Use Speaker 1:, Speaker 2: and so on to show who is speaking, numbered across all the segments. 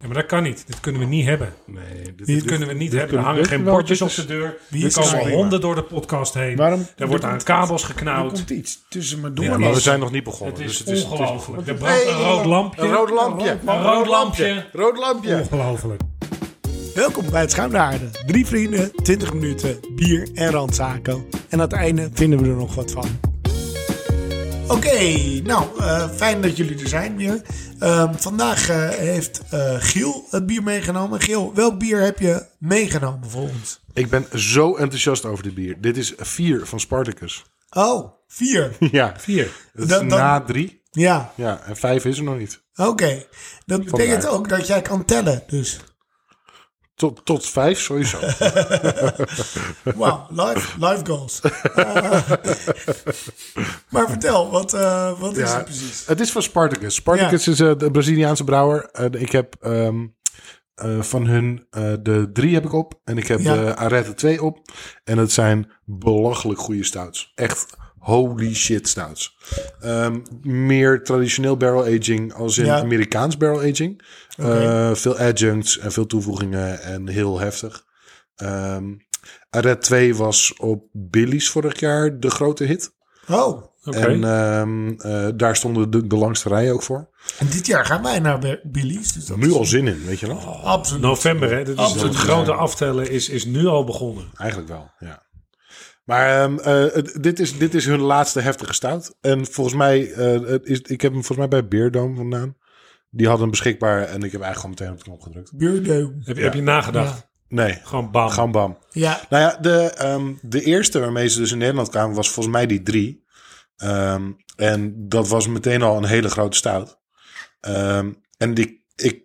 Speaker 1: Ja, maar dat kan niet. Dit kunnen we niet hebben.
Speaker 2: Nee, dit,
Speaker 1: Dit, kunnen we niet hebben. Er hangen
Speaker 2: dit
Speaker 1: geen
Speaker 2: wel
Speaker 1: bordjes op
Speaker 2: tussen-
Speaker 1: de deur.
Speaker 3: Wie
Speaker 1: Er
Speaker 3: is er
Speaker 1: komen
Speaker 3: prima.
Speaker 1: honden door de podcast heen.
Speaker 3: Waarom-
Speaker 1: er
Speaker 3: er
Speaker 1: wordt aan
Speaker 3: komt-
Speaker 1: kabels
Speaker 3: Er
Speaker 1: geknauwd.
Speaker 3: komt iets tussen me door.
Speaker 2: Ja, maar we zijn nog niet begonnen.
Speaker 1: Het is
Speaker 2: dus het is, het is-
Speaker 1: ongelooflijk. Er brandt een
Speaker 4: Nee.
Speaker 1: rood lampje.
Speaker 4: Een rood lampje.
Speaker 1: Een rood lampje.
Speaker 4: Rood lampje.
Speaker 1: Ongelooflijk.
Speaker 3: Welkom bij het Schuim naar Aarde. Drie vrienden, 20 minuten, bier en randzaken. En aan het einde vinden we er nog wat van. Oké, nou, eh, fijn dat jullie er zijn weer. Ehm, vandaag eh, heeft eh, Giel het bier meegenomen. Giel, welk bier heb je meegenomen voor ons?
Speaker 2: Ik ben zo enthousiast over dit bier. Dit is 4 van Spartacus.
Speaker 3: Oh, vier.
Speaker 2: Ja,
Speaker 1: 4.
Speaker 2: dat is
Speaker 3: Dan- dan-
Speaker 2: na 3.
Speaker 3: Ja,
Speaker 2: Ja, en 5 is er nog niet.
Speaker 3: oké. Dat betekent ook dat jij kan tellen, dus.
Speaker 2: Tot, tot 5 sowieso.
Speaker 3: Wauw, life, life Ah, goals. Eh, maar vertel, wat, eh, wat is
Speaker 2: Ja,
Speaker 3: het precies?
Speaker 2: Het is van Spartacus. Spartacus is eh, de Braziliaanse brouwer. Eh, ik heb ehm, eh, van hun eh, de 3 heb ik op. En ik heb
Speaker 3: Ja.
Speaker 2: de Arete 2 op. En dat zijn belachelijk goede stouts. Echt holy shit stouts. Ehm, meer traditioneel barrel aging als in
Speaker 3: Ja.
Speaker 2: Amerikaans barrel aging.
Speaker 3: Oké.
Speaker 2: Eh, veel adjuncts en veel toevoegingen en heel heftig. Ehm Arete 2 was op Billy's vorig jaar de grote hit.
Speaker 3: Oh,
Speaker 1: Oké.
Speaker 2: En ehm, eh, daar stonden de, de langste rijen ook voor.
Speaker 3: en dit jaar gaan wij naar Be- Billy's. Dus dat
Speaker 2: Nu
Speaker 3: is
Speaker 2: al zin in, weet je wel?
Speaker 3: Absoluut.
Speaker 1: November, hè? Dit is
Speaker 3: Absoluut.
Speaker 1: het grote aftellen is, is nu al begonnen.
Speaker 2: Eigenlijk wel, ja. Maar ehm, eh, het- dit, is, dit is hun laatste heftige stout. En volgens mij, eh, het is, ik heb hem volgens mij bij Beerdome vandaan. Die hadden hem beschikbaar en ik heb eigenlijk gewoon meteen op de knop gedrukt.
Speaker 3: Beurdeum.
Speaker 1: Heb, je- heb je nagedacht?
Speaker 2: Nee,
Speaker 1: Gewoon bam.
Speaker 2: gewoon bam.
Speaker 3: Ja,
Speaker 2: Nou ja, de, ehm, de eerste waarmee ze dus in Nederland kwamen was volgens mij die drie. Ehm, en dat was meteen al een hele grote stout. Ehm, en die, ik,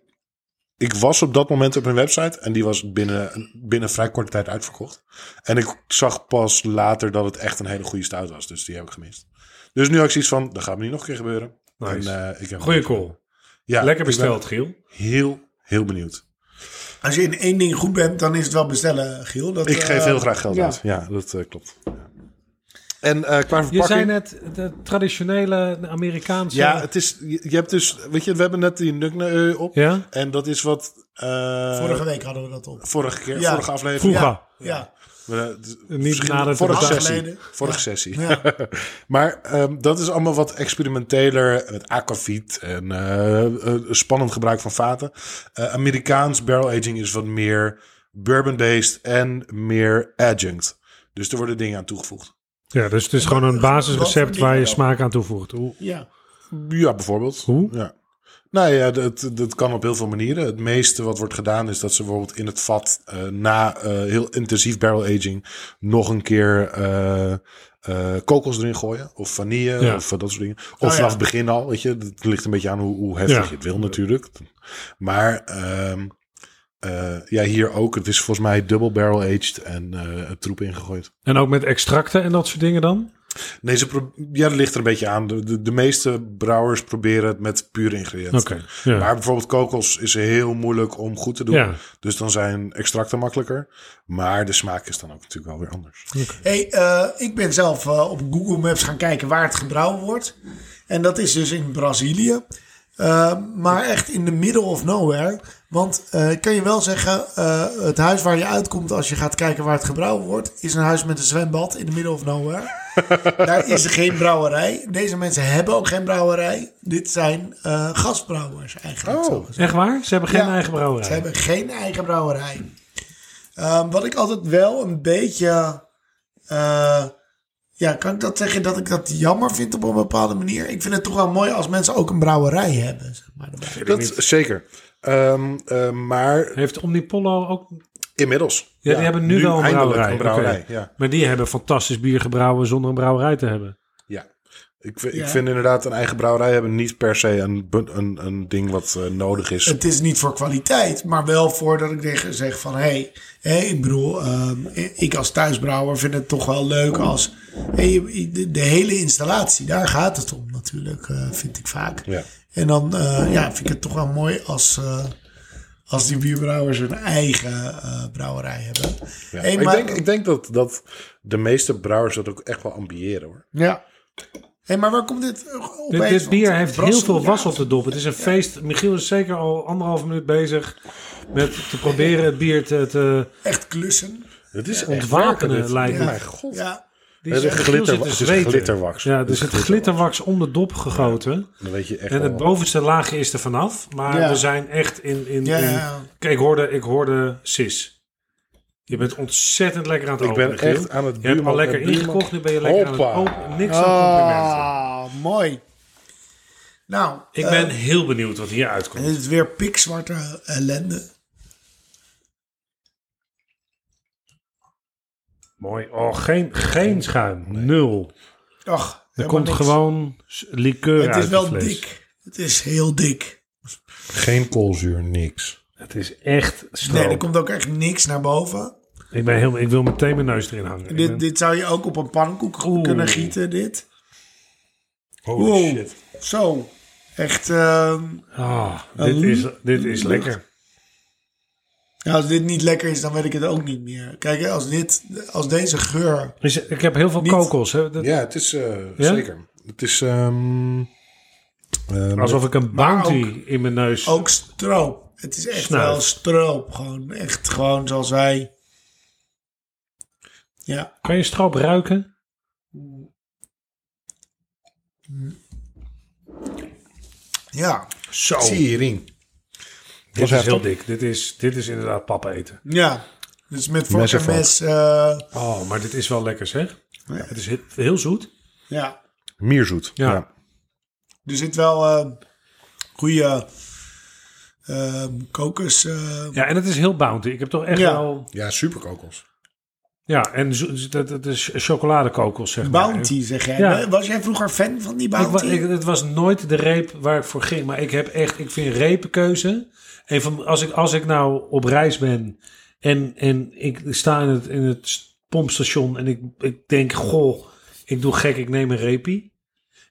Speaker 2: ik was op dat moment op hun website en die was binnen, binnen vrij korte tijd uitverkocht. En ik zag pas later dat het echt een hele goede stout was, dus die heb ik gemist. Dus nu had ik zoiets van, dat gaat me niet nog een keer gebeuren.
Speaker 1: Nice.
Speaker 2: En, eh, ik heb
Speaker 1: Goeie call.
Speaker 2: Ja,
Speaker 1: Lekker
Speaker 2: ik ben
Speaker 1: besteld, Giel.
Speaker 2: Heel, heel benieuwd.
Speaker 3: als je in één ding goed bent, dan is het wel bestellen, Giel. Dat,
Speaker 2: Ik
Speaker 3: eh,
Speaker 2: geef heel graag geld
Speaker 3: ja.
Speaker 2: uit. Ja, dat eh, klopt. Ja. En eh, qua verpakking...
Speaker 1: Je zei net de traditionele Amerikaanse...
Speaker 2: Ja, het is, je je hebt dus, weet je, we hebben net die Nukne op.
Speaker 1: Ja?
Speaker 2: En dat is wat. eh,
Speaker 3: Vorige week hadden we dat op.
Speaker 2: vorige keer,
Speaker 3: Ja.
Speaker 2: vorige aflevering.
Speaker 1: Vroeger.
Speaker 3: Ja, ja.
Speaker 2: We, eh, d-
Speaker 1: na
Speaker 2: verschillende-
Speaker 1: de
Speaker 2: vorige
Speaker 3: dag
Speaker 2: sessie.
Speaker 3: geleden.
Speaker 2: Vorige sessie.
Speaker 3: Ja.
Speaker 2: maar ehm, dat is allemaal wat experimenteler. Met aquavit en eh, eh, spannend gebruik van vaten. Eh, Amerikaans barrel aging is wat meer bourbon-based en meer adjunct. Dus er worden dingen aan toegevoegd.
Speaker 1: Ja, dus het is gewoon een basisrecept waar je
Speaker 3: Wat voor
Speaker 1: smaak aan toevoegt. Hoe-
Speaker 3: ja.
Speaker 2: Ja, bijvoorbeeld.
Speaker 1: Hoe?
Speaker 2: Ja. Nou ja, dat, dat kan op heel veel manieren. Het meeste wat wordt gedaan is dat ze bijvoorbeeld in het vat eh, na eh, heel intensief barrel aging nog een keer eh, eh, kokos erin gooien. Of vanille
Speaker 1: Ja.
Speaker 2: of eh, dat soort dingen. Of
Speaker 3: ja.
Speaker 2: vanaf het begin al, weet je. Het ligt een beetje aan hoe, hoe heftig
Speaker 1: Ja.
Speaker 2: je het wil natuurlijk. Maar ehm, eh, ja, hier ook. Het is volgens mij dubbel barrel aged en eh, troep ingegooid.
Speaker 1: En ook met extracten en dat soort dingen dan?
Speaker 2: Nee, ze pro- ja, dat ligt er een beetje aan. De, de, de meeste brouwers proberen het met pure ingrediënten.
Speaker 1: Oké, ja.
Speaker 2: Maar bijvoorbeeld kokos is heel moeilijk om goed te doen.
Speaker 1: Ja.
Speaker 2: Dus dan zijn extracten makkelijker. Maar de smaak is dan ook natuurlijk wel weer anders.
Speaker 3: Hey, eh, ik ben zelf eh, op Google Maps gaan kijken waar het gebrouwen wordt. En dat is dus in Brazilië. Eh, maar echt in de middle of nowhere. Want eh, ik kan je wel zeggen, eh, het huis waar je uitkomt als je gaat kijken waar het gebrouwen wordt, is een huis met een zwembad in de middle of nowhere. Daar is geen brouwerij. Deze mensen hebben ook geen brouwerij. Dit zijn eh gasbrouwers eigenlijk. zo gezegd.
Speaker 1: Echt waar? Ze hebben geen
Speaker 3: Ja,
Speaker 1: eigen brouwerij.
Speaker 3: Ze hebben geen eigen brouwerij. Ehm, wat ik altijd wel een beetje. eh, ja, kan ik dat zeggen dat ik dat jammer vind op een bepaalde manier? Ik vind het toch wel mooi als mensen ook een brouwerij hebben. Zeg maar, erbij.
Speaker 2: Dat zeker. Ehm, eh, maar
Speaker 1: Heeft Omnipollo ook...
Speaker 2: inmiddels.
Speaker 1: Ja, die hebben nu, wel een
Speaker 2: eindelijk
Speaker 1: brouwerij.
Speaker 2: een brouwerij,
Speaker 1: Oké.
Speaker 2: Ja.
Speaker 1: Maar die hebben fantastisch bier gebrouwen zonder een brouwerij te hebben.
Speaker 2: ja. Ik, vind-
Speaker 3: Ja.
Speaker 2: ik vind inderdaad een eigen brouwerij hebben niet per se een, bu- een, een ding wat eh, nodig is.
Speaker 3: Het is niet voor kwaliteit, maar wel voor dat ik tegen- zeg van... hé, hé, ik bedoel, ehm, ik als thuisbrouwer vind het toch wel leuk als... hé, de, de hele installatie, daar gaat het om natuurlijk, eh, vind ik vaak.
Speaker 2: Ja.
Speaker 3: En dan eh, ja, vind ik het toch wel mooi als, eh, als die bierbrouwers hun eigen eh, brouwerij hebben.
Speaker 2: Ja.
Speaker 3: Hé,
Speaker 2: Maar
Speaker 3: maar-
Speaker 2: ik denk, ik denk dat, dat de meeste brouwers dat ook echt wel ambiëren hoor.
Speaker 3: ja. Hey, maar waar komt dit eh,
Speaker 1: Dit,
Speaker 3: opeens?
Speaker 1: dit bier
Speaker 3: Want
Speaker 1: heeft
Speaker 3: Brassel,
Speaker 1: heel veel
Speaker 3: ja.
Speaker 1: was op de dop. Het is een feest. Michiel is zeker al anderhalve minuut bezig met te proberen het bier te, te
Speaker 3: Echt klussen.
Speaker 2: Het is
Speaker 1: ontwapenen, lijkt
Speaker 2: Ja,
Speaker 1: het.
Speaker 2: mijn god.
Speaker 3: Ja.
Speaker 1: Die
Speaker 2: Het is
Speaker 1: Michiel
Speaker 2: glitter-
Speaker 1: zit te
Speaker 2: het is
Speaker 1: zweten.
Speaker 2: glitterwax.
Speaker 1: Ja, er zit glitterwax om de dop gegoten.
Speaker 2: Dan weet je echt
Speaker 1: En het
Speaker 2: wel-
Speaker 1: bovenste laagje is er vanaf. Maar
Speaker 3: Ja.
Speaker 1: we zijn echt in... in,
Speaker 3: Ja,
Speaker 1: in-
Speaker 3: ja.
Speaker 1: Kijk, ik hoorde, ik hoorde Sis. Je bent ontzettend lekker aan het
Speaker 2: Ik
Speaker 1: open,
Speaker 2: ben
Speaker 1: Michiel.
Speaker 2: echt aan het
Speaker 1: Je hebt al
Speaker 2: buurman-
Speaker 1: lekker
Speaker 2: en buurman.
Speaker 1: ingekocht. Nu ben je lekker
Speaker 2: Hoppa.
Speaker 1: aan het open. Niks aan complimenten.
Speaker 3: Ah, mooi. Nou,
Speaker 1: Ik
Speaker 3: eh,
Speaker 1: ben heel benieuwd wat hier
Speaker 3: en
Speaker 1: uitkomt.
Speaker 3: dit is weer pikzwarte ellende.
Speaker 1: Mooi. Oh, geen, geen schuim. Nul.
Speaker 3: Ach,
Speaker 1: Er
Speaker 3: helemaal
Speaker 1: komt
Speaker 3: niks.
Speaker 1: gewoon s- likeur uit
Speaker 3: Het is
Speaker 1: de
Speaker 3: wel
Speaker 1: fles.
Speaker 3: dik. Het is heel dik.
Speaker 2: Geen koolzuur, niks.
Speaker 1: Het is echt
Speaker 3: Nee,
Speaker 1: stroop.
Speaker 3: er komt ook echt niks naar boven.
Speaker 1: ik, ben heel, ik wil meteen mijn neus erin hangen. Ik ben-
Speaker 3: Dit, dit zou je ook op een pannenkoek
Speaker 1: Oeh.
Speaker 3: kunnen gieten, dit.
Speaker 2: Holy
Speaker 3: Wow.
Speaker 2: shit.
Speaker 3: Zo. Echt, ehm,
Speaker 1: Ah,
Speaker 3: Een
Speaker 1: dit, is, dit is
Speaker 3: lucht.
Speaker 1: lekker.
Speaker 3: ja, als dit niet lekker is, dan weet ik het ook niet meer. Kijk, als, dit, als deze geur...
Speaker 1: Dus ik heb heel veel
Speaker 3: Niet-
Speaker 1: kokos. Hè? Dat-
Speaker 2: Ja, het is eh,
Speaker 1: Ja?
Speaker 2: zeker. Het is... ehm, ehm,
Speaker 1: Alsof ik een
Speaker 3: Maar
Speaker 1: bounty in mijn neus...
Speaker 3: Ook stroop. Het is echt
Speaker 1: Snuif.
Speaker 3: wel stroop. Gewoon echt gewoon zoals wij. Ja.
Speaker 1: Kan je stroop ruiken?
Speaker 3: Ja.
Speaker 1: Zo.
Speaker 2: Tering.
Speaker 1: Dit is
Speaker 2: heftig.
Speaker 1: heel dik. Dit is, dit is inderdaad pap eten.
Speaker 3: Ja. Dus met vork
Speaker 2: Mes en
Speaker 3: en
Speaker 2: vork.
Speaker 3: mes. eh,
Speaker 1: Oh, maar dit is wel lekker zeg. Het is heel, heel zoet.
Speaker 3: ja.
Speaker 2: Mierzoet.
Speaker 1: Ja.
Speaker 3: Er zit wel eh goede eh, kokos. eh,
Speaker 1: Ja, en het is heel bounty. Ik heb toch echt
Speaker 3: Ja.
Speaker 1: wel...
Speaker 2: Ja, superkokos.
Speaker 1: Ja, en zo- dat het is chocoladekokos zeg maar.
Speaker 3: bounty, zeg jij. Eh,
Speaker 1: Ja.
Speaker 3: Was jij vroeger fan van die
Speaker 1: Ik, wa-
Speaker 3: Bounty?
Speaker 1: ik, het was nooit de reep waar ik voor ging. Maar ik heb echt, ik vind repenkeuze. En van, als, ik, als ik nou op reis ben en, en ik sta in het, in het pompstation en ik, ik denk, goh, ik doe gek, ik neem een repie.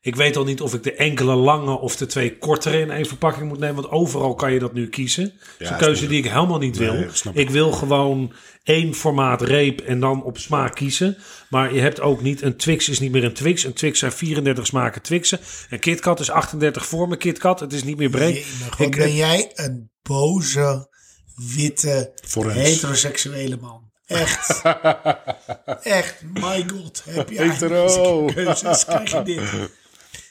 Speaker 1: Ik weet al niet of ik de enkele lange of de twee kortere in één verpakking moet nemen. Want overal kan je dat nu kiezen. dat is een
Speaker 2: dat
Speaker 1: keuze
Speaker 2: moet
Speaker 1: die ik helemaal niet wil.
Speaker 2: Nee, dat snap ik.
Speaker 1: ik wil gewoon één formaat reep en dan op smaak kiezen. Maar je hebt ook niet... Een Twix is niet meer een Twix. Een Twix zijn 34 smaken Twixen. Een KitKat is 38 vormen KitKat. Het is niet meer breed.
Speaker 3: Jemig, wat
Speaker 1: ik,
Speaker 3: ben jij een boze, witte,
Speaker 2: Forens.
Speaker 3: heteroseksuele man. Echt. Echt, my god. Heb jij
Speaker 2: Hetero.
Speaker 3: keuzes? Krijg je dit?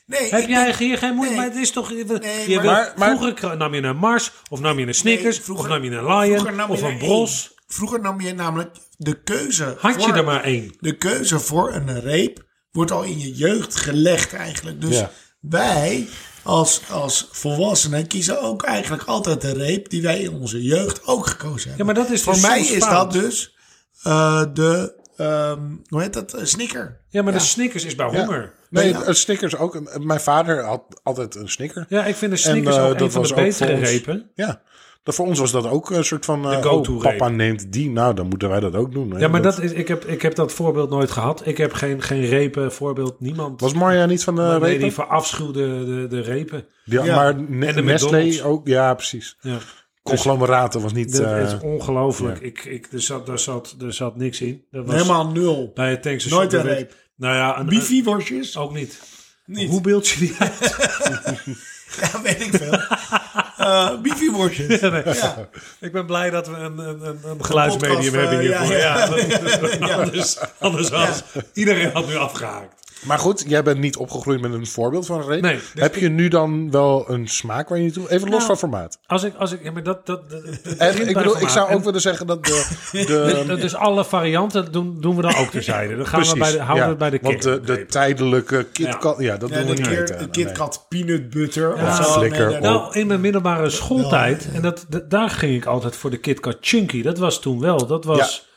Speaker 3: Nee,
Speaker 1: eh, heb
Speaker 3: ik
Speaker 1: jij
Speaker 3: denk-
Speaker 1: hier geen moeite?
Speaker 3: Nee.
Speaker 1: Maar het is toch... je wil-
Speaker 3: maar-
Speaker 2: maar-
Speaker 1: vroeger kra- nam je een Mars of nam je een Snickers
Speaker 3: Nee, vroeger-
Speaker 1: of nam je een Lion
Speaker 3: vroeger nam je
Speaker 1: of
Speaker 3: er
Speaker 1: een
Speaker 3: één.
Speaker 1: Bros.
Speaker 3: Vroeger nam je namelijk de keuze.
Speaker 1: Had je
Speaker 3: voor-
Speaker 1: er maar één.
Speaker 3: de keuze voor een reep wordt al in je jeugd gelegd eigenlijk. Dus
Speaker 2: Ja.
Speaker 3: wij als, als volwassenen kiezen ook eigenlijk altijd de reep die wij in onze jeugd ook gekozen hebben.
Speaker 1: maar dat is
Speaker 3: voor
Speaker 1: dus
Speaker 3: mij
Speaker 1: soms
Speaker 3: is
Speaker 1: fout.
Speaker 3: dat dus eh, de, ehm, hoe heet dat, Eh, snicker.
Speaker 1: Ja, maar de Snickers is bij honger.
Speaker 2: Nee,
Speaker 3: Nee,
Speaker 2: een Snickers ook. Mijn vader had altijd een Snicker.
Speaker 1: Ja, ik vind de Snickers
Speaker 2: eh,
Speaker 1: ook een van de
Speaker 2: ook voor
Speaker 1: betere
Speaker 2: ons-
Speaker 1: repen.
Speaker 2: Ja. Dat voor ons was dat ook een soort van... eh,
Speaker 1: De go-to
Speaker 2: oh, papa
Speaker 1: reep.
Speaker 2: neemt die. Nou, dan moeten wij dat ook doen. hè.
Speaker 1: Ja, maar dat is, ik, heb, ik heb dat voorbeeld nooit gehad. Ik heb geen, geen repen voorbeeld. Niemand.
Speaker 2: Was Marja niet van de
Speaker 1: nee,
Speaker 2: repen?
Speaker 1: die verafschuwde de, de repen.
Speaker 2: Ja,
Speaker 3: Ja.
Speaker 2: maar ne-
Speaker 1: En de McDonald's.
Speaker 2: Nestlé ook. Ja, precies.
Speaker 1: Ja.
Speaker 2: Conglomeraten was niet...
Speaker 1: Dat
Speaker 2: eh,
Speaker 1: is ongelooflijk. Ik, ik, er, zat, er, zat, er zat niks in. Dat was
Speaker 3: Helemaal nul.
Speaker 1: bij het tankstation.
Speaker 3: Nooit een
Speaker 1: Er werd-
Speaker 3: reep.
Speaker 1: Nou ja, een,
Speaker 3: Bifi worstjes?
Speaker 1: een- ook niet.
Speaker 3: Niet.
Speaker 1: Hoe beeld je die uit?
Speaker 3: Ja, weet ik veel. Eh Bifi worstjes.
Speaker 1: Ja, nee.
Speaker 3: Ja.
Speaker 1: Ik ben blij dat we een, een, een, een
Speaker 3: Een
Speaker 1: geluidsmedium
Speaker 3: podcast,
Speaker 1: hebben
Speaker 3: eh, ja,
Speaker 1: hiervoor. Ja, dat-
Speaker 3: ja.
Speaker 1: Anders, anders had iedereen had nu afgehaakt.
Speaker 2: Maar goed, jij bent niet opgegroeid met een voorbeeld van een reep.
Speaker 1: Nee, dus
Speaker 2: Heb je nu dan wel een smaak waar je naartoe... Even los
Speaker 1: Nou,
Speaker 2: van formaat.
Speaker 1: Als ik, als ik, ja, maar dat, dat, dat- dat
Speaker 2: En,
Speaker 1: begint
Speaker 2: ik,
Speaker 1: bij
Speaker 2: bedoel, ik
Speaker 1: vermaak.
Speaker 2: zou
Speaker 1: En-
Speaker 2: ook willen zeggen dat de... de
Speaker 1: Dat- Dus alle varianten doen, doen we dan ook terzijde. Dan gaan we bij de, houden we
Speaker 2: ja.
Speaker 1: het bij de
Speaker 2: Want de,
Speaker 1: kern.
Speaker 2: de tijdelijke KitKat... Ja. dat
Speaker 3: Ja,
Speaker 2: doen we
Speaker 3: de,
Speaker 2: niet
Speaker 3: keer,
Speaker 2: eten.
Speaker 3: de
Speaker 2: Nee.
Speaker 3: KitKat peanut butter.
Speaker 1: Ja.
Speaker 3: of zo. Nee,
Speaker 2: Flikker
Speaker 3: nee,
Speaker 2: op.
Speaker 1: Nou, in mijn middelbare schooltijd, en dat, dat- daar ging ik altijd voor de KitKat Chunky. Dat was toen wel. Dat was,
Speaker 2: Ja,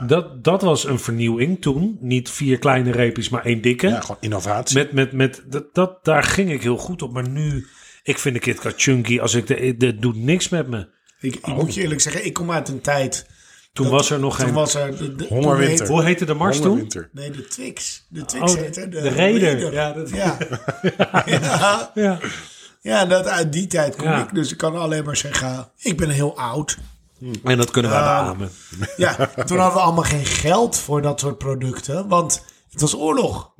Speaker 2: ja.
Speaker 1: dat, dat was een vernieuwing toen. Niet vier kleine reepjes, maar één dikke.
Speaker 2: ja, gewoon innovatie.
Speaker 1: Met, met, met, dat, dat, daar ging ik heel goed op. Maar nu, ik vind de KitKat Chunky, als ik de, dat doet niks met me.
Speaker 3: Ik, ik moet je eerlijk zeggen, ik kom uit een tijd.
Speaker 1: Toen
Speaker 3: dat-
Speaker 1: was er nog
Speaker 3: Toen
Speaker 1: geen...
Speaker 3: was er de, de-
Speaker 2: Hongerwinter.
Speaker 3: toen heet-
Speaker 1: Hoe heette de mars toen?
Speaker 2: Hongerwinter.
Speaker 3: Nee, de Twix. De Twix
Speaker 1: Oh, de-
Speaker 3: heette.
Speaker 1: de Raider. Ja,
Speaker 3: Ja,
Speaker 1: dat-
Speaker 3: dat... ja. ja.
Speaker 1: Ja.
Speaker 3: ja, dat uit die tijd kom
Speaker 1: Ja.
Speaker 3: ik. Dus ik kan alleen maar zeggen, ik ben heel oud.
Speaker 1: En dat kunnen wij
Speaker 2: Ah.
Speaker 1: beamen.
Speaker 3: Ja, toen hadden we allemaal geen geld voor dat soort producten. Want het was oorlog.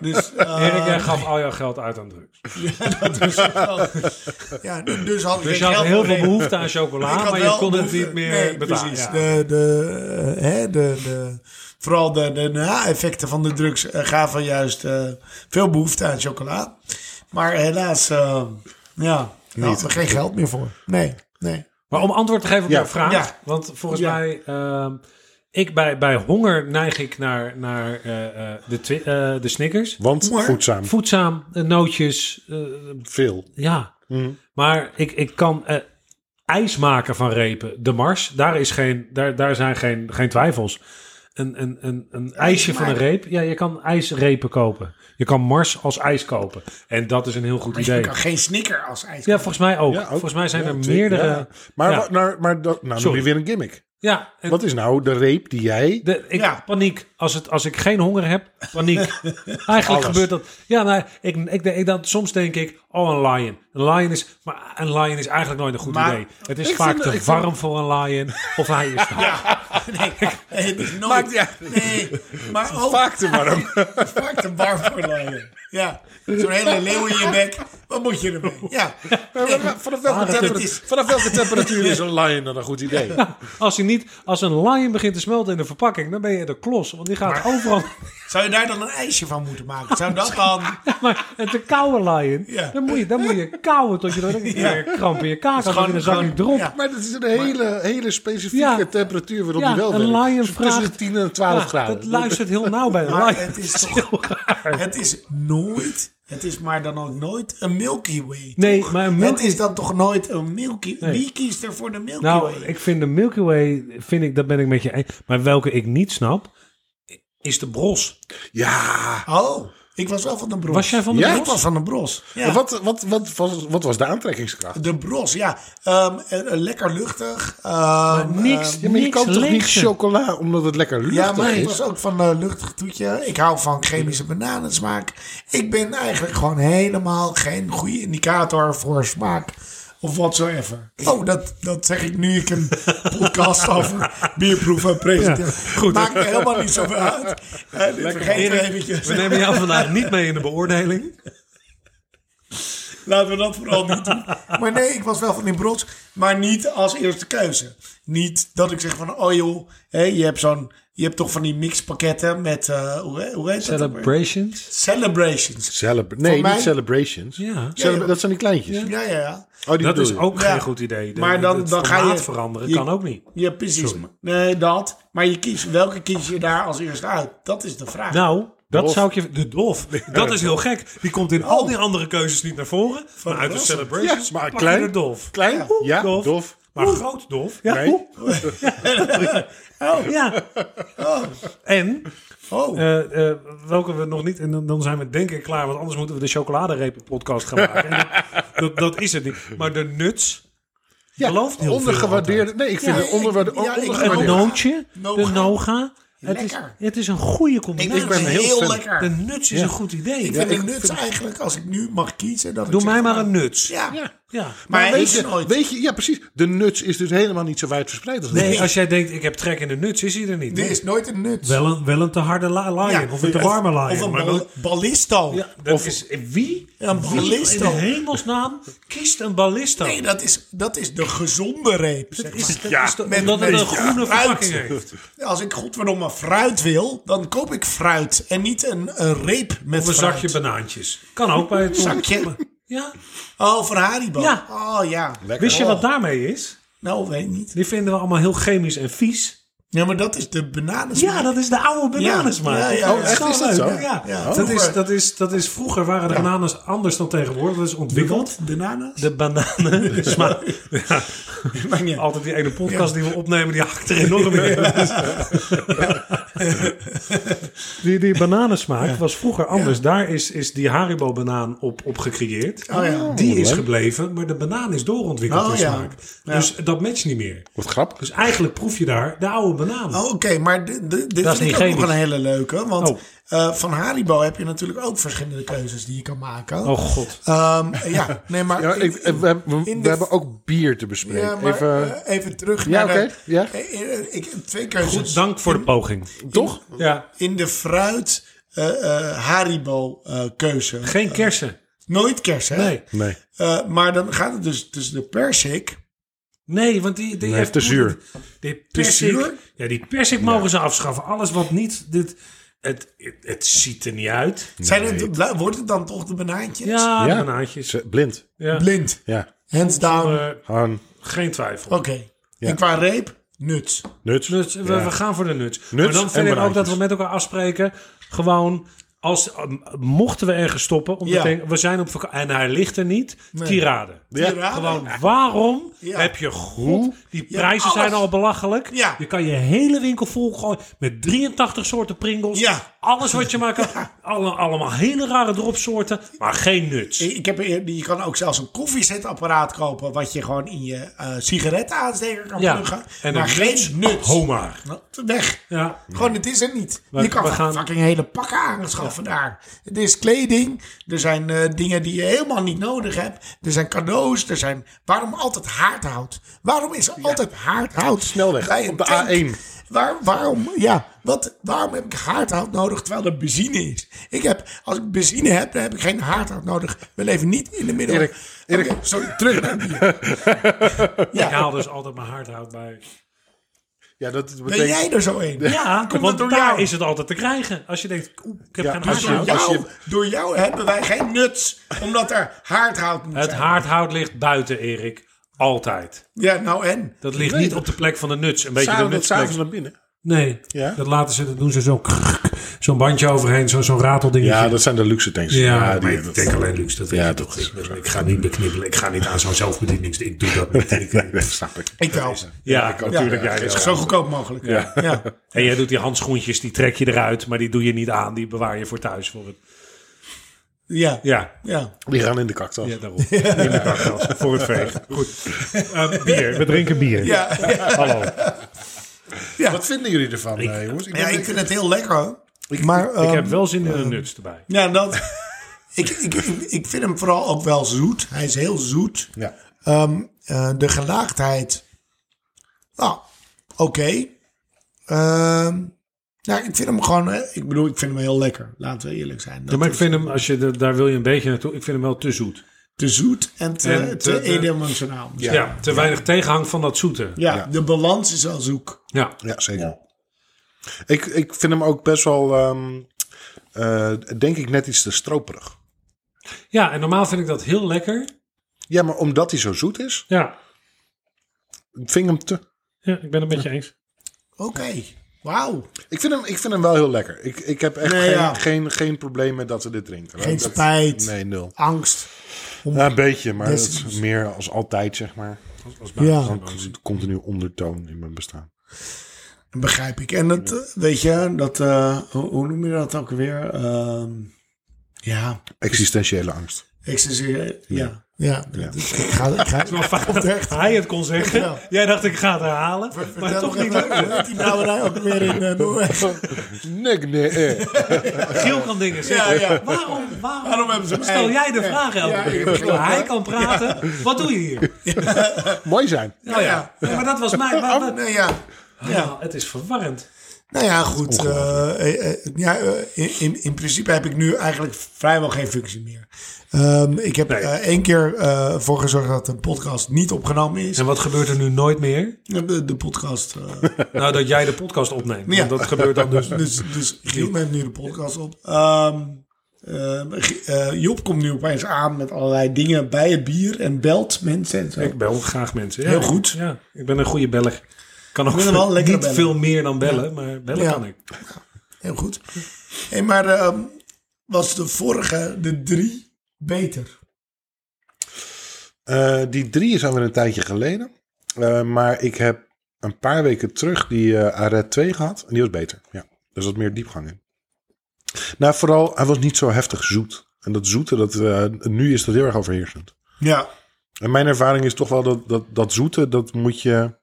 Speaker 3: Dus, eh,
Speaker 1: Erik,
Speaker 2: Ah.
Speaker 1: jij gaf al jouw geld uit aan drugs.
Speaker 3: dus, ja, dus had ik
Speaker 1: Dus je
Speaker 3: geen
Speaker 1: had
Speaker 3: geld
Speaker 1: heel veel
Speaker 3: meer.
Speaker 1: behoefte aan
Speaker 3: Ik
Speaker 1: chocola,
Speaker 3: had
Speaker 1: maar je
Speaker 3: wel
Speaker 1: kon het
Speaker 3: behoefte-
Speaker 1: niet meer
Speaker 3: nee,
Speaker 1: betalen.
Speaker 3: Precies.
Speaker 1: Ja.
Speaker 3: De, de, eh, hè, de, de, vooral de, de na-effecten van de drugs eh, gaven juist eh, veel behoefte aan chocola. Maar helaas, eh, ja, daar hadden we geen geld meer voor. Nee, nee.
Speaker 1: Maar om antwoord te geven op
Speaker 2: Ja.
Speaker 1: jouw vraag,
Speaker 3: Ja.
Speaker 1: want volgens
Speaker 3: Ja.
Speaker 1: mij, ehm, ik bij, bij honger neig ik naar, naar eh, eh, de, twi- eh, de Snickers.
Speaker 2: Want
Speaker 3: Maar-
Speaker 2: voedzaam.
Speaker 1: Voedzaam, eh, nootjes, eh,
Speaker 2: Veel.
Speaker 1: ja.
Speaker 3: Mhm.
Speaker 1: Maar ik, ik kan eh, ijs maken van repen. De Mars, daar, is geen, daar, daar zijn geen, geen twijfels. Een, een, een, een ijsje van een
Speaker 3: maken.
Speaker 1: reep. Ja, je kan ijsrepen kopen. Je kan Mars als ijs kopen. En dat is een heel goed
Speaker 3: Je
Speaker 1: idee.
Speaker 3: kan geen snicker als ijs.
Speaker 1: Ja, volgens mij ook.
Speaker 2: Ja, ook.
Speaker 1: Volgens mij zijn
Speaker 2: Ja,
Speaker 1: er
Speaker 2: zeker.
Speaker 1: meerdere.
Speaker 2: Ja. Maar,
Speaker 1: ja.
Speaker 2: wa- maar, maar dat, nou, noem
Speaker 1: Sorry.
Speaker 2: je weer een gimmick.
Speaker 1: Ja, en
Speaker 2: Wat is nou de reep die jij...
Speaker 1: de, ik
Speaker 3: Ja.
Speaker 1: paniek. Als, het, als ik geen honger heb, paniek. Eigenlijk gebeurt dat. Ja, nou, ik, ik, ik, dan, soms denk ik, oh, een lion. Een lion is, maar een lion is eigenlijk nooit een goed
Speaker 3: Maar-
Speaker 1: idee. Het is
Speaker 2: Ik
Speaker 1: vaak
Speaker 2: vind-
Speaker 1: te
Speaker 2: ik
Speaker 1: warm voor een lion. Of hij is Nou, te
Speaker 3: Nee, nee, dus nooit.
Speaker 2: Maakt niet uit.
Speaker 3: Nee, maar ook
Speaker 2: Vaak te warm.
Speaker 3: vaak te warm voor laaien. Ja, zo'n hele leeuw in je bek. Wat moet je ermee? Ja, Nee,
Speaker 2: vanaf,
Speaker 1: Ah,
Speaker 2: welke
Speaker 3: maar het
Speaker 2: temperatuur,
Speaker 3: is-
Speaker 2: vanaf welke temperatuur is een lion dan een goed idee?
Speaker 1: Als, hij niet, als een lion begint te smelten in de verpakking, dan ben je de klos. Want die gaat overal.
Speaker 3: Zou je daar dan een ijsje van moeten maken? Zou dat dan...
Speaker 1: Maar een te koude lion,
Speaker 3: Ja.
Speaker 1: dan, moet je, dan moet je kouwen tot je dan een keer kramp in je kaak had. En dan zak ik erop.
Speaker 3: ja.
Speaker 2: Maar dat is een hele, hele specifieke
Speaker 1: Ja.
Speaker 2: temperatuur waarop
Speaker 1: Ja,
Speaker 2: die wel
Speaker 1: een
Speaker 2: werkt.
Speaker 1: lion
Speaker 2: Dus tussen
Speaker 1: vraagt-
Speaker 2: 10 en 12
Speaker 1: Ja,
Speaker 2: graden.
Speaker 1: Dat luistert heel nauw bij een
Speaker 3: Maar
Speaker 1: lion.
Speaker 3: het is toch... Het is nooit... Het is maar dan ook nooit een Milky Way.
Speaker 1: Nee,
Speaker 3: toch?
Speaker 1: maar een
Speaker 3: Het
Speaker 1: Milky-
Speaker 3: is dan toch nooit een Milky...
Speaker 1: Nee.
Speaker 3: Wie kiest er voor de Milky
Speaker 1: Nou,
Speaker 3: Way?
Speaker 1: ik vind de Milky Way, vind ik, dat ben ik met je eens. Maar welke ik niet snap, is de bros.
Speaker 2: Ja.
Speaker 3: Oh, ik was wel van de Bros.
Speaker 1: Was jij van de
Speaker 2: Ja,
Speaker 3: Ik
Speaker 1: bros?
Speaker 3: was van de Bros. Ja.
Speaker 2: En Wat, wat, wat, was, wat was de aantrekkingskracht?
Speaker 3: De Bros, ja. Ehm, eh, eh, lekker luchtig. ehm,
Speaker 1: niks.
Speaker 3: ehm,
Speaker 2: Ja, maar je
Speaker 1: Niks
Speaker 2: koopt toch niet
Speaker 1: lekker.
Speaker 2: chocola omdat het lekker luchtig
Speaker 3: ja, maar ik
Speaker 2: is?
Speaker 3: was ook van een luchtig toetje. Ik hou van chemische bananensmaak. Ik ben eigenlijk gewoon helemaal geen goede indicator voor smaak. Of whatsoever. Oh, dat, dat zeg ik nu ik een podcast over bierproeven presenteer. goed, Maakt me helemaal niet zoveel uit. Eh, dit vergeten we eventjes.
Speaker 1: We nemen jou vandaag niet mee in de beoordeling.
Speaker 3: Laten we dat vooral niet doen. Maar nee, ik was wel van in Brods, maar niet als eerste keuze. Niet dat ik zeg van, oh joh, hè, je hebt zo'n... Je hebt toch van die mixpakketten met, eh, hoe, he- hoe heet dat? ook weer?
Speaker 1: Celebrations.
Speaker 3: Celebrations.
Speaker 2: Celebra- nee,
Speaker 3: mij-
Speaker 2: niet celebrations.
Speaker 1: Ja.
Speaker 2: Celebra-
Speaker 3: Ja, ja.
Speaker 2: dat zijn die kleintjes.
Speaker 3: Ja, ja, ja.
Speaker 2: Oh, die
Speaker 1: Dat
Speaker 2: bedoel
Speaker 1: is
Speaker 2: je.
Speaker 1: ook
Speaker 3: Ja.
Speaker 1: geen goed idee. De-
Speaker 3: Maar dan-
Speaker 1: het
Speaker 3: dan ga je-
Speaker 1: formaat veranderen
Speaker 3: je-
Speaker 1: kan ook niet.
Speaker 3: Ja, precies. Nee, dat. Maar je kiest, welke kies je daar als eerste uit? Dat is de vraag.
Speaker 1: Nou, dat
Speaker 2: Dolf.
Speaker 1: zou ik je... De Dolf. Dat is heel gek. Die komt in al die andere keuzes niet naar voren. Maar uit de
Speaker 3: Russell.
Speaker 1: Celebrations
Speaker 2: Ja, maar
Speaker 1: pak je
Speaker 2: klein.
Speaker 1: de Dolf.
Speaker 2: Klein? Ja, dof.
Speaker 1: Maar groot Dolf. Ja,
Speaker 2: Nee.
Speaker 1: oh. ja. En
Speaker 3: oh,
Speaker 1: eh, eh, welke we nog niet. En dan, dan zijn we denk ik klaar. Want anders moeten we de chocoladerepen podcast gaan maken. En dat- dat, dat is het niet. Maar de nuts.
Speaker 2: Ja,
Speaker 1: belooft heel
Speaker 2: ondergewaardeerde. Nee, ik vind
Speaker 3: Ja,
Speaker 2: het onderwaarde-
Speaker 3: ik- ja, ik-
Speaker 1: veel. Het
Speaker 2: ondergewaardeerd.
Speaker 1: nootje.
Speaker 3: Noga.
Speaker 1: De noga. Het is,
Speaker 3: Lekker.
Speaker 1: het is een goede
Speaker 3: ik
Speaker 1: combinatie.
Speaker 3: vind het heel,
Speaker 2: heel fan.
Speaker 3: lekker.
Speaker 1: de nuts is een goed idee.
Speaker 3: ik vind de nuts eigenlijk, als ik nu mag kiezen... Dat ik
Speaker 1: Doe
Speaker 3: zeg
Speaker 1: mij
Speaker 3: van,
Speaker 1: maar een nuts.
Speaker 3: Ja,
Speaker 2: Ja.
Speaker 1: Ja.
Speaker 3: maar,
Speaker 2: Maar
Speaker 3: hij
Speaker 2: weet
Speaker 3: is er
Speaker 2: je,
Speaker 3: nooit.
Speaker 2: weet je, ja precies. De nuts is dus helemaal niet zo wijd verspreid als
Speaker 1: Nee,
Speaker 2: dat.
Speaker 1: als jij denkt, ik heb trek in de nuts, is hij er niet.
Speaker 3: Er is nooit een nuts.
Speaker 1: Wel, een, wel een te harde la- lion.
Speaker 3: Ja.
Speaker 1: Of een te warme lion.
Speaker 3: Of een
Speaker 1: maar
Speaker 3: bal-
Speaker 1: wel-
Speaker 3: ballisto.
Speaker 1: ja, dat is, wie,
Speaker 3: Een
Speaker 1: wie in
Speaker 3: ballisto.
Speaker 1: de hemelsnaam kiest een ballisto?
Speaker 3: Nee, dat is, dat is de gezonde reep. Zeg maar.
Speaker 1: Is, dat
Speaker 2: Ja,
Speaker 1: is de-
Speaker 3: met-
Speaker 1: omdat het
Speaker 3: met-
Speaker 1: een groene
Speaker 3: ja,
Speaker 1: verpakking
Speaker 3: fruit.
Speaker 1: heeft.
Speaker 3: Als ik godverdomme fruit wil, dan koop ik fruit. En niet een, een reep met
Speaker 1: Of een
Speaker 3: fruit.
Speaker 1: zakje banaantjes. Kan ook bij het
Speaker 3: Zakje.
Speaker 1: Ja.
Speaker 3: Oh, van Haribo.
Speaker 1: Ja.
Speaker 3: Oh ja.
Speaker 1: Wist je wat daarmee is?
Speaker 3: Nou, weet ik niet.
Speaker 1: Die vinden we allemaal heel chemisch en vies.
Speaker 3: Ja, maar dat is de bananensmaak.
Speaker 1: Ja, dat is de oude bananensmaak.
Speaker 3: Ja, ja, ja.
Speaker 1: Dat
Speaker 2: Oh, echt?
Speaker 1: wel
Speaker 2: Is dat
Speaker 1: leuk,
Speaker 2: zo?
Speaker 1: hè? Ja.
Speaker 3: Ja.
Speaker 1: Dat, is,
Speaker 3: Vroeger-
Speaker 1: dat, is, dat is vroeger waren de bananen anders dan tegenwoordig. Dat is ontwikkeld.
Speaker 3: Wat? Bananas?
Speaker 1: De bananen. smaak. Ja.
Speaker 3: Maakt niet uit.
Speaker 1: Altijd die ene podcast die we opnemen, die hakt er enorm in. die, die bananensmaak was vroeger anders. Daar is, is die Haribo-banaan op, op gecreëerd.
Speaker 3: Oh ja.
Speaker 1: Die is gebleven, maar de banaan is doorontwikkeld
Speaker 3: Oh
Speaker 1: in
Speaker 3: ja.
Speaker 1: smaak. Dus dat matcht niet meer.
Speaker 2: Wat grappig.
Speaker 1: Dus eigenlijk proef je daar de oude banaan.
Speaker 3: Oh, Oké, maar di- di- dit
Speaker 1: Dat is
Speaker 3: vind ik
Speaker 1: niet
Speaker 3: ook
Speaker 1: chemisch.
Speaker 3: nog een hele leuke. Want
Speaker 1: Oh.
Speaker 3: eh, van Haribo heb je natuurlijk ook verschillende keuzes die je kan maken.
Speaker 1: Oh, god.
Speaker 3: Ehm, ja, nee, maar...
Speaker 2: Ja, ik, we hebben- we
Speaker 3: in
Speaker 2: we
Speaker 3: de-
Speaker 2: hebben ook bier te bespreken.
Speaker 3: Ja, maar,
Speaker 2: Even,
Speaker 3: eh, even terug
Speaker 2: Ja,
Speaker 3: naar
Speaker 2: oké,
Speaker 3: de...
Speaker 2: ja.
Speaker 3: Eh, eh, ik, twee keuzes.
Speaker 1: Goed, dank voor de poging.
Speaker 2: toch?
Speaker 1: Ja.
Speaker 3: In de fruit eh, eh, Haribo eh, keuze.
Speaker 1: Geen kersen.
Speaker 3: Nooit kers, hè?
Speaker 1: Nee.
Speaker 2: Nee.
Speaker 3: Eh, maar dan gaat het dus tussen de persik.
Speaker 1: Nee, want die, die
Speaker 2: Nee, te zuur.
Speaker 1: Die
Speaker 3: zuur?
Speaker 1: persik, ja, die persik mogen ze afschaffen. Alles wat niet... Dit, het, het, het ziet er niet uit.
Speaker 3: Zijn het, bla- wordt het dan toch de banaantjes?
Speaker 1: Ja, de
Speaker 2: Ja.
Speaker 1: banaantjes.
Speaker 2: Ze- Blind.
Speaker 1: Ja.
Speaker 3: Blind.
Speaker 2: Ja.
Speaker 3: Hands down. Oké.
Speaker 1: Eh,
Speaker 2: Han,
Speaker 1: geen twijfel.
Speaker 2: Oh.
Speaker 3: En qua reep, nuts.
Speaker 2: nuts.
Speaker 1: Nuts, we,
Speaker 2: Ja.
Speaker 1: we gaan voor de nuts.
Speaker 2: Nuts
Speaker 1: maar dan vind
Speaker 2: en
Speaker 1: ik ook dat
Speaker 2: banaantjes.
Speaker 1: we met elkaar afspreken. Gewoon, als, mochten we ergens stoppen. Omdat
Speaker 3: Ja.
Speaker 1: ik denk, we zijn op vakantie. En hij ligt er niet. Tirade.
Speaker 2: Ja.
Speaker 3: Tirade.
Speaker 1: Gewoon, waarom
Speaker 3: Ja.
Speaker 1: heb je goed... Die
Speaker 3: Ja,
Speaker 1: prijzen zijn
Speaker 3: alles.
Speaker 1: al belachelijk.
Speaker 3: Ja.
Speaker 1: Je kan je hele winkel vol gooien met 83 soorten Pringles.
Speaker 3: Ja.
Speaker 1: Alles wat je maar kan. Alle, allemaal hele rare dropsoorten, maar geen nuts.
Speaker 3: Ik ik heb, eer- je kan ook zelfs een koffiezetapparaat kopen... wat je gewoon in je eh sigarettenaansteker kan
Speaker 1: Ja.
Speaker 3: pluggen.
Speaker 1: En
Speaker 3: maar
Speaker 1: een
Speaker 3: geen nuts.
Speaker 1: Homaar.
Speaker 3: Nou, Weg.
Speaker 1: Ja.
Speaker 3: Gewoon, het is er niet.
Speaker 1: We-
Speaker 3: je kan
Speaker 1: we gaan-
Speaker 3: fucking hele pakken aanschaffen daar. Het is kleding. Er zijn eh, dingen die je helemaal niet nodig hebt. Er zijn cadeaus. Er zijn... Waarom altijd haardhout? Waarom is er altijd haardhout?
Speaker 2: Snelweg,
Speaker 3: bij een
Speaker 2: op de
Speaker 3: tank?
Speaker 2: A1.
Speaker 3: Waar, waarom, ja, wat, waarom heb ik haardhout nodig terwijl er benzine is? Ik heb, als ik benzine heb, dan heb ik geen haardhout nodig. We leven niet in de middel.
Speaker 2: Erik, Erik.
Speaker 3: Oké, sorry, terug.
Speaker 1: Ik haal dus altijd mijn hardhout bij.
Speaker 2: Ja, dat betekent...
Speaker 3: Ben jij er zo een?
Speaker 1: Ja,
Speaker 3: Komt dat
Speaker 1: want
Speaker 3: door
Speaker 1: daar
Speaker 3: jou?
Speaker 1: is het altijd te krijgen. Als je denkt, oeh, ik heb
Speaker 2: Ja,
Speaker 1: geen
Speaker 2: als
Speaker 1: hardhout.
Speaker 3: Door jou,
Speaker 2: Als
Speaker 3: door jou hebben wij geen nuts, omdat er haardhout moet
Speaker 1: Het
Speaker 3: zijn.
Speaker 1: haardhout ligt buiten, Erik. Altijd.
Speaker 3: Ja, nou en?
Speaker 1: Dat ligt
Speaker 2: Nee,
Speaker 1: niet
Speaker 2: dat-
Speaker 1: op de plek van de nuts. Een beetje de
Speaker 2: S'avonds
Speaker 1: nutsplek.
Speaker 2: s'avonds naar binnen.
Speaker 1: Nee,
Speaker 2: Ja?
Speaker 1: dat laten ze. Dat doen ze zo zo'n bandje overheen. Zo'n zo'n rateldingetje.
Speaker 2: Ja, dat zijn de luxe tanks.
Speaker 1: Ja,
Speaker 2: die-
Speaker 1: maar ik denk alleen luxe. Dat weet
Speaker 2: Ja,
Speaker 1: je
Speaker 2: dat
Speaker 1: toch.
Speaker 2: is-
Speaker 1: Ik, ben- ik ga niet beknibbelen. Ik ga niet aan zo'n zelfbedienings. Ik doe dat niet. Ik-
Speaker 2: Nee, dat snap ik.
Speaker 3: Ik wel.
Speaker 1: ja,
Speaker 2: natuurlijk,
Speaker 1: ja,
Speaker 2: ja,
Speaker 1: ja.
Speaker 3: Zo goedkoop mogelijk. Ja.
Speaker 1: En jij doet die handschoentjes, die trek je eruit, maar die doe je niet aan. Die bewaar je voor thuis. Voor het...
Speaker 3: Ja. ja.
Speaker 1: Ja,
Speaker 2: Die gaan in de kaktas.
Speaker 1: ja daarom. In de kaktas, voor het vegen. Goed. Eh, bier. We drinken bier.
Speaker 3: Ja. Ja.
Speaker 1: Hallo.
Speaker 2: Wat vinden jullie ervan, eh, jongens? Ik, ben-
Speaker 3: ik vind het heel lekker. hoor. maar,
Speaker 1: Ik
Speaker 3: ehm,
Speaker 1: heb wel zin in een nuts erbij.
Speaker 3: Ja, dat... ik, ik, ik, ik vind hem vooral ook wel zoet. Hij is heel zoet.
Speaker 2: Ja.
Speaker 3: Ehm, eh, de gelaagdheid. Nou, oké. Ehm, nou, ik vind hem gewoon... eh, Ik bedoel, ik vind hem heel lekker. Laten we eerlijk zijn. Dat
Speaker 1: Ja, maar ik
Speaker 3: is
Speaker 1: vind hem, als je, de- daar wil je een beetje naartoe, ik vind hem wel te zoet.
Speaker 3: Te zoet en te,
Speaker 1: En
Speaker 3: te,
Speaker 1: te- te-
Speaker 3: eendimensionaal.
Speaker 1: Ja,
Speaker 3: Ja.
Speaker 1: te weinig tegenhang van dat zoete. Ja.
Speaker 2: Ja.
Speaker 3: de balans is al zoek.
Speaker 2: Ja, zeker. Ik, ik vind hem ook best wel, ehm, eh, denk ik, net iets te stroperig.
Speaker 1: ja, en normaal vind ik dat heel lekker.
Speaker 2: Ja, maar omdat hij zo zoet is,
Speaker 1: Ja,
Speaker 2: vind ik hem te...
Speaker 1: ja ik ben het met je eens.
Speaker 3: Oké, wauw.
Speaker 2: Ik vind hem, ik vind hem wel heel lekker. Ik, ik heb echt
Speaker 3: Nee,
Speaker 2: geen,
Speaker 3: ja.
Speaker 2: geen, geen probleem met dat we dit drinken.
Speaker 3: Geen
Speaker 2: Dat-
Speaker 3: spijt.
Speaker 2: Nee, nul.
Speaker 3: Angst.
Speaker 2: Ja, een beetje, maar dat
Speaker 3: Des- Ah.
Speaker 2: is meer als altijd, zeg maar.
Speaker 3: Ja.
Speaker 2: Ook een continu ondertoon in mijn bestaan.
Speaker 3: Begrijp ik. En dat, eh, weet je, dat, eh, hoe, hoe noem je dat ook weer? Ehm, ja,
Speaker 2: Existentiële angst.
Speaker 3: ik ja. ja. Ja, dat- ik ga, ik ga het
Speaker 1: Dat hij het kon zeggen.
Speaker 3: Ja.
Speaker 1: Jij dacht ik ga het herhalen, maar toch niet.
Speaker 3: Die brouwerij ook weer in eh, Noorwegen.
Speaker 2: Nee, nee, eh.
Speaker 1: Giel kan dingen zeggen.
Speaker 3: Ja, ja.
Speaker 1: Waarom, waarom,
Speaker 3: Waarom hebben ze hem
Speaker 1: stel
Speaker 3: ei?
Speaker 1: jij de
Speaker 3: Ja.
Speaker 1: vraag elke
Speaker 3: Ja,
Speaker 1: keer?
Speaker 3: ik
Speaker 1: Ik bedoel, Hij kan praten. Wat doe je hier?
Speaker 2: Mooi zijn.
Speaker 1: Nou ja, Ja, maar dat was mijn... maar- maar-
Speaker 3: Nee, ja.
Speaker 1: Ja, het is verwarrend.
Speaker 3: Nou ja, goed. eh, eh, eh, ja, eh, in- in, in principe heb ik nu eigenlijk vrijwel geen functie meer. Ehm, ik heb
Speaker 1: Nee.
Speaker 3: eh, één keer eh, voor gezorgd dat een podcast niet opgenomen is.
Speaker 1: En wat gebeurt er nu nooit meer?
Speaker 3: De, de podcast. eh,
Speaker 1: Nou, dat jij de podcast opneemt.
Speaker 3: Ja.
Speaker 1: Want dat gebeurt dan dus...
Speaker 3: dus, dus Giel neemt nu de podcast op. Ehm, ehm, G- eh, Job komt nu opeens aan met allerlei dingen bij het bier en belt mensen en zo.
Speaker 1: Ik bel graag mensen. Ja,
Speaker 3: Heel goed.
Speaker 1: Ja, ik ben een goede beller. Kan ook
Speaker 3: ben wel een
Speaker 1: niet
Speaker 3: lekkere beller.
Speaker 1: veel meer dan bellen, maar bellen
Speaker 3: Ja.
Speaker 1: kan ik.
Speaker 3: Heel goed. Hey, maar ehm, was de vorige, de drie, beter?
Speaker 2: Eh, die drie is alweer een tijdje geleden. Eh, maar ik heb een paar weken terug die eh Aret 2 gehad. En die was beter. Ja, er zat meer diepgang in. Nou, vooral, hij was niet zo heftig zoet. En dat zoete, dat, eh, nu is dat heel erg overheersend.
Speaker 3: Ja.
Speaker 2: En mijn ervaring is toch wel dat, dat, dat zoete, dat moet je...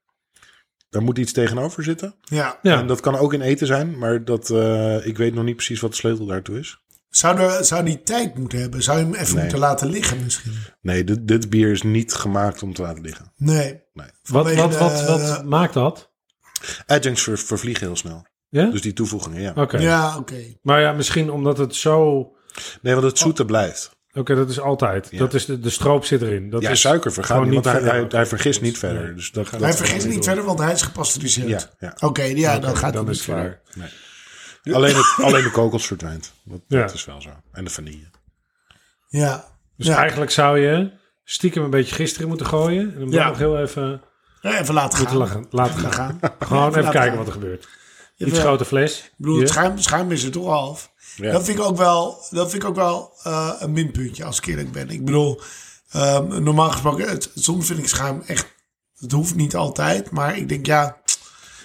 Speaker 2: Daar moet iets tegenover zitten.
Speaker 3: Ja.
Speaker 1: Ja.
Speaker 2: En dat kan ook in eten zijn. Maar dat, eh, ik weet nog niet precies wat de sleutel daartoe is.
Speaker 3: Zou, er, zou die tijd moeten hebben? Zou je hem even
Speaker 2: Nee.
Speaker 3: moeten laten liggen misschien?
Speaker 2: Nee, dit, dit bier is niet gemaakt om te laten liggen.
Speaker 3: Nee.
Speaker 2: Nee.
Speaker 1: Wat,
Speaker 3: Vanwege
Speaker 1: wat, wat,
Speaker 3: de-
Speaker 1: wat maakt dat?
Speaker 2: Adjuncts ver, vervliegen heel snel.
Speaker 1: Ja?
Speaker 2: Dus die toevoegingen, ja.
Speaker 1: Oké.
Speaker 3: Ja, oké.
Speaker 1: Maar ja, misschien omdat het zo... Oké,
Speaker 2: Nee, want het
Speaker 1: Oh.
Speaker 2: zoete blijft.
Speaker 1: dat is altijd. Dat is de, de stroop zit erin. Dat
Speaker 2: ja,
Speaker 1: is
Speaker 2: suiker vergaat
Speaker 1: gewoon
Speaker 2: niet,
Speaker 1: niet
Speaker 2: want hij,
Speaker 1: verder.
Speaker 2: hij, hij vergist niet verder. Dus dat,
Speaker 3: Hij
Speaker 2: dat-
Speaker 3: vergist niet verder, want hij is gepasteuriseerd.
Speaker 2: Ja, ja.
Speaker 3: Oké, ja, dan gaat
Speaker 1: dan
Speaker 3: hij
Speaker 1: is het
Speaker 3: niet verder.
Speaker 1: klaar.
Speaker 2: Alleen, het, alleen de kokos verdwijnt. Dat, dat
Speaker 1: Ja.
Speaker 2: is wel zo. En de vanille.
Speaker 3: Ja.
Speaker 1: Dus
Speaker 3: ja.
Speaker 1: eigenlijk zou je stiekem een beetje gisteren moeten gooien. En hem dan
Speaker 3: Ja.
Speaker 1: nog heel even
Speaker 3: Ja, even laten
Speaker 1: moeten
Speaker 3: gaan.
Speaker 1: lachen, laten gaan.
Speaker 3: gaan.
Speaker 1: Gewoon even
Speaker 3: laten
Speaker 1: kijken
Speaker 3: gaan.
Speaker 1: wat er gebeurt.
Speaker 3: Ja,
Speaker 1: Iets
Speaker 3: ja.
Speaker 1: grote fles.
Speaker 3: Ik bedoel,
Speaker 1: Hier.
Speaker 3: het schuim, schuim is er toch af.
Speaker 2: Ja.
Speaker 3: Dat vind ik ook wel, dat vind ik ook wel eh, een minpuntje als ik eerlijk ben. Ik bedoel, ehm, normaal gesproken, het, soms vind ik schuim echt, het hoeft niet altijd. Maar ik denk, ja,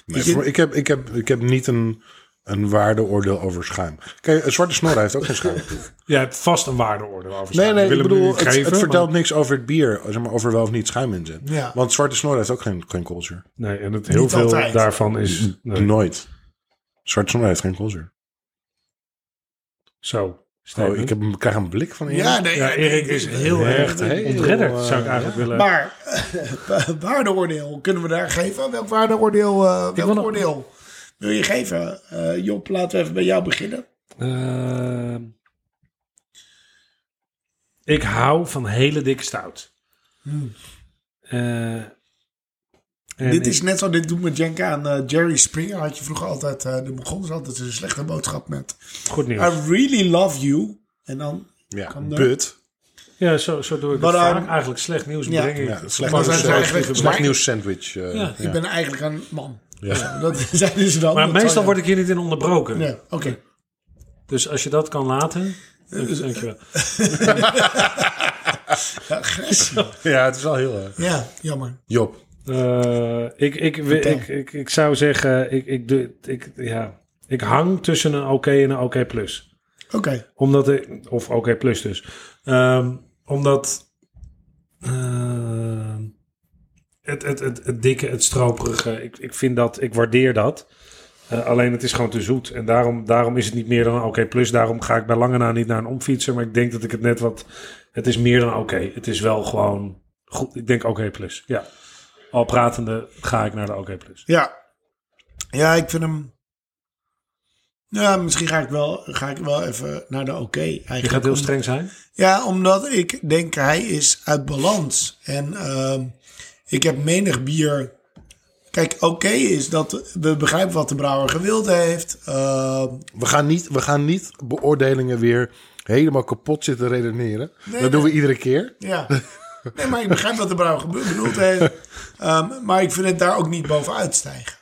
Speaker 2: Nee,
Speaker 3: Is dit-
Speaker 2: voor- ik, heb, ik, heb, ik heb niet een, een waardeoordeel over schuim. Kijk, een zwarte snor heeft ook geen schuim.
Speaker 1: Jij hebt vast een waardeoordeel over
Speaker 2: Nee,
Speaker 1: schuim.
Speaker 2: nee,
Speaker 1: wil
Speaker 2: ik
Speaker 1: hem nu
Speaker 2: bedoel,
Speaker 1: niet
Speaker 2: het,
Speaker 1: geven,
Speaker 2: het vertelt
Speaker 1: maar-
Speaker 2: niks over het bier. Zeg maar, over wel of niet schuim in zit.
Speaker 3: Ja.
Speaker 2: Want zwarte snor heeft ook geen, geen culture.
Speaker 1: Nee, en het heel
Speaker 3: Niet
Speaker 1: veel
Speaker 3: altijd. Mm.
Speaker 1: daarvan is... nee.
Speaker 2: Nooit. Zwarte snor heeft geen culture.
Speaker 1: Zo.
Speaker 2: Oh,
Speaker 1: statement.
Speaker 2: ik, heb, ik krijg een blik van Erik.
Speaker 3: ja, nee,
Speaker 1: Ja, Erik is heel
Speaker 2: Echt
Speaker 1: erg
Speaker 2: heel,
Speaker 1: ontredderd,
Speaker 2: eh,
Speaker 1: zou ik eigenlijk willen.
Speaker 3: Maar waardeoordeel kunnen we daar geven? Welk waardeoordeel? eh, welk
Speaker 1: wil nog-
Speaker 3: oordeel wil je geven? Eh, Job, laten we even bij jou beginnen.
Speaker 1: Ehm, ik hou van hele dikke stout. Eh, en
Speaker 3: Hmm. dit
Speaker 1: ik-
Speaker 3: is net zo, dit doet me denken aan eh, Jerry Springer. Had je vroeger altijd, eh de begonnen altijd een slechte boodschap met.
Speaker 1: goed nieuws.
Speaker 3: I really love you. En dan
Speaker 2: Ja,
Speaker 3: Kan er-
Speaker 2: but.
Speaker 1: ja, zo, zo doe ik
Speaker 3: Maar,
Speaker 1: het vaak.
Speaker 3: ehm,
Speaker 1: Eigenlijk slecht nieuws
Speaker 3: ja.
Speaker 1: breng ik.
Speaker 2: Ja, slecht
Speaker 3: Maar
Speaker 2: nieuws,
Speaker 3: zijn ze
Speaker 2: eh,
Speaker 3: eigenlijk-
Speaker 2: slecht
Speaker 3: maar-
Speaker 2: nieuws sandwich. eh, ja.
Speaker 3: Ik ben eigenlijk een man.
Speaker 2: Ja.
Speaker 3: Ja, dat zijn ze dan.
Speaker 1: Maar
Speaker 3: Dat
Speaker 1: meestal
Speaker 3: zou
Speaker 1: word ik hier niet in onderbroken.
Speaker 3: je- Nee, oké.
Speaker 1: Dus als je dat kan laten...
Speaker 3: Eh,
Speaker 1: dank- Dankjewel.
Speaker 3: Agressie.
Speaker 2: Ja, het is wel heel... eh,
Speaker 3: Ja, jammer.
Speaker 2: Job.
Speaker 1: Eh, ik, ik, ik, ik, ik, ik zou zeggen... Ik, ik, doe- ik, ja, ik hang tussen een oké en een oké plus.
Speaker 3: Oké.
Speaker 1: Omdat ik, of oké plus dus. Ehm, omdat ehm, het, het, het, het dikke, het stroperige, ik, ik vind dat, ik waardeer dat. Eh, alleen het is gewoon te zoet. En daarom, daarom is het niet meer dan een oké plus. Daarom ga ik bij lange na niet naar een omfietser. Maar ik denk dat ik het net wat, het is meer dan oké. Het is wel gewoon goed. Ik denk oké plus, ja. Al pratende ga ik naar de oké plus.
Speaker 3: Ja. Ja, ik vind hem... Ja, misschien ga ik wel, ga ik wel even naar de oké. eigenlijk.
Speaker 1: Je gaat heel streng zijn?
Speaker 3: Ja, omdat ik denk hij is uit balans. En ehm, ik heb menig bier. Kijk, oké is dat we begrijpen wat de brouwer gewild heeft. Ehm,
Speaker 2: We gaan, niet, we gaan niet beoordelingen weer helemaal kapot zitten redeneren. dat doen we iedere keer.
Speaker 3: Ja. Nee, maar ik begrijp wat de brouwer gebe- bedoeld heeft. Ehm, maar ik vind het daar ook niet bovenuit stijgen.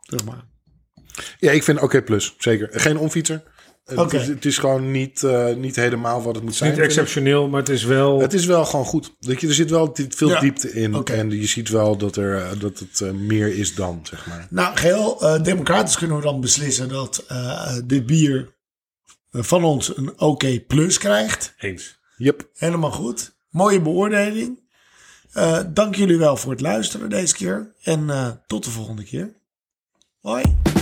Speaker 3: Zeg maar.
Speaker 2: Ja, ik vind oké plus, zeker. Geen onfietser. Het,
Speaker 3: Oké.
Speaker 2: is, het is gewoon niet, eh, niet helemaal wat het moet zijn.
Speaker 1: Niet exceptioneel, maar het is wel...
Speaker 2: Het is wel gewoon goed. Dat je, er zit wel di- veel
Speaker 3: Ja.
Speaker 2: diepte in.
Speaker 3: Oké.
Speaker 2: En je ziet wel dat, er, eh, dat het eh, meer is dan, zeg maar.
Speaker 3: Nou, geheel eh, democratisch kunnen we dan beslissen dat eh dit bier eh, van ons een oké plus krijgt.
Speaker 1: Eens.
Speaker 2: Yep.
Speaker 3: Helemaal goed. Mooie beoordeling. Eh, dank jullie wel voor het luisteren deze keer. En eh, tot de volgende keer. Hoi.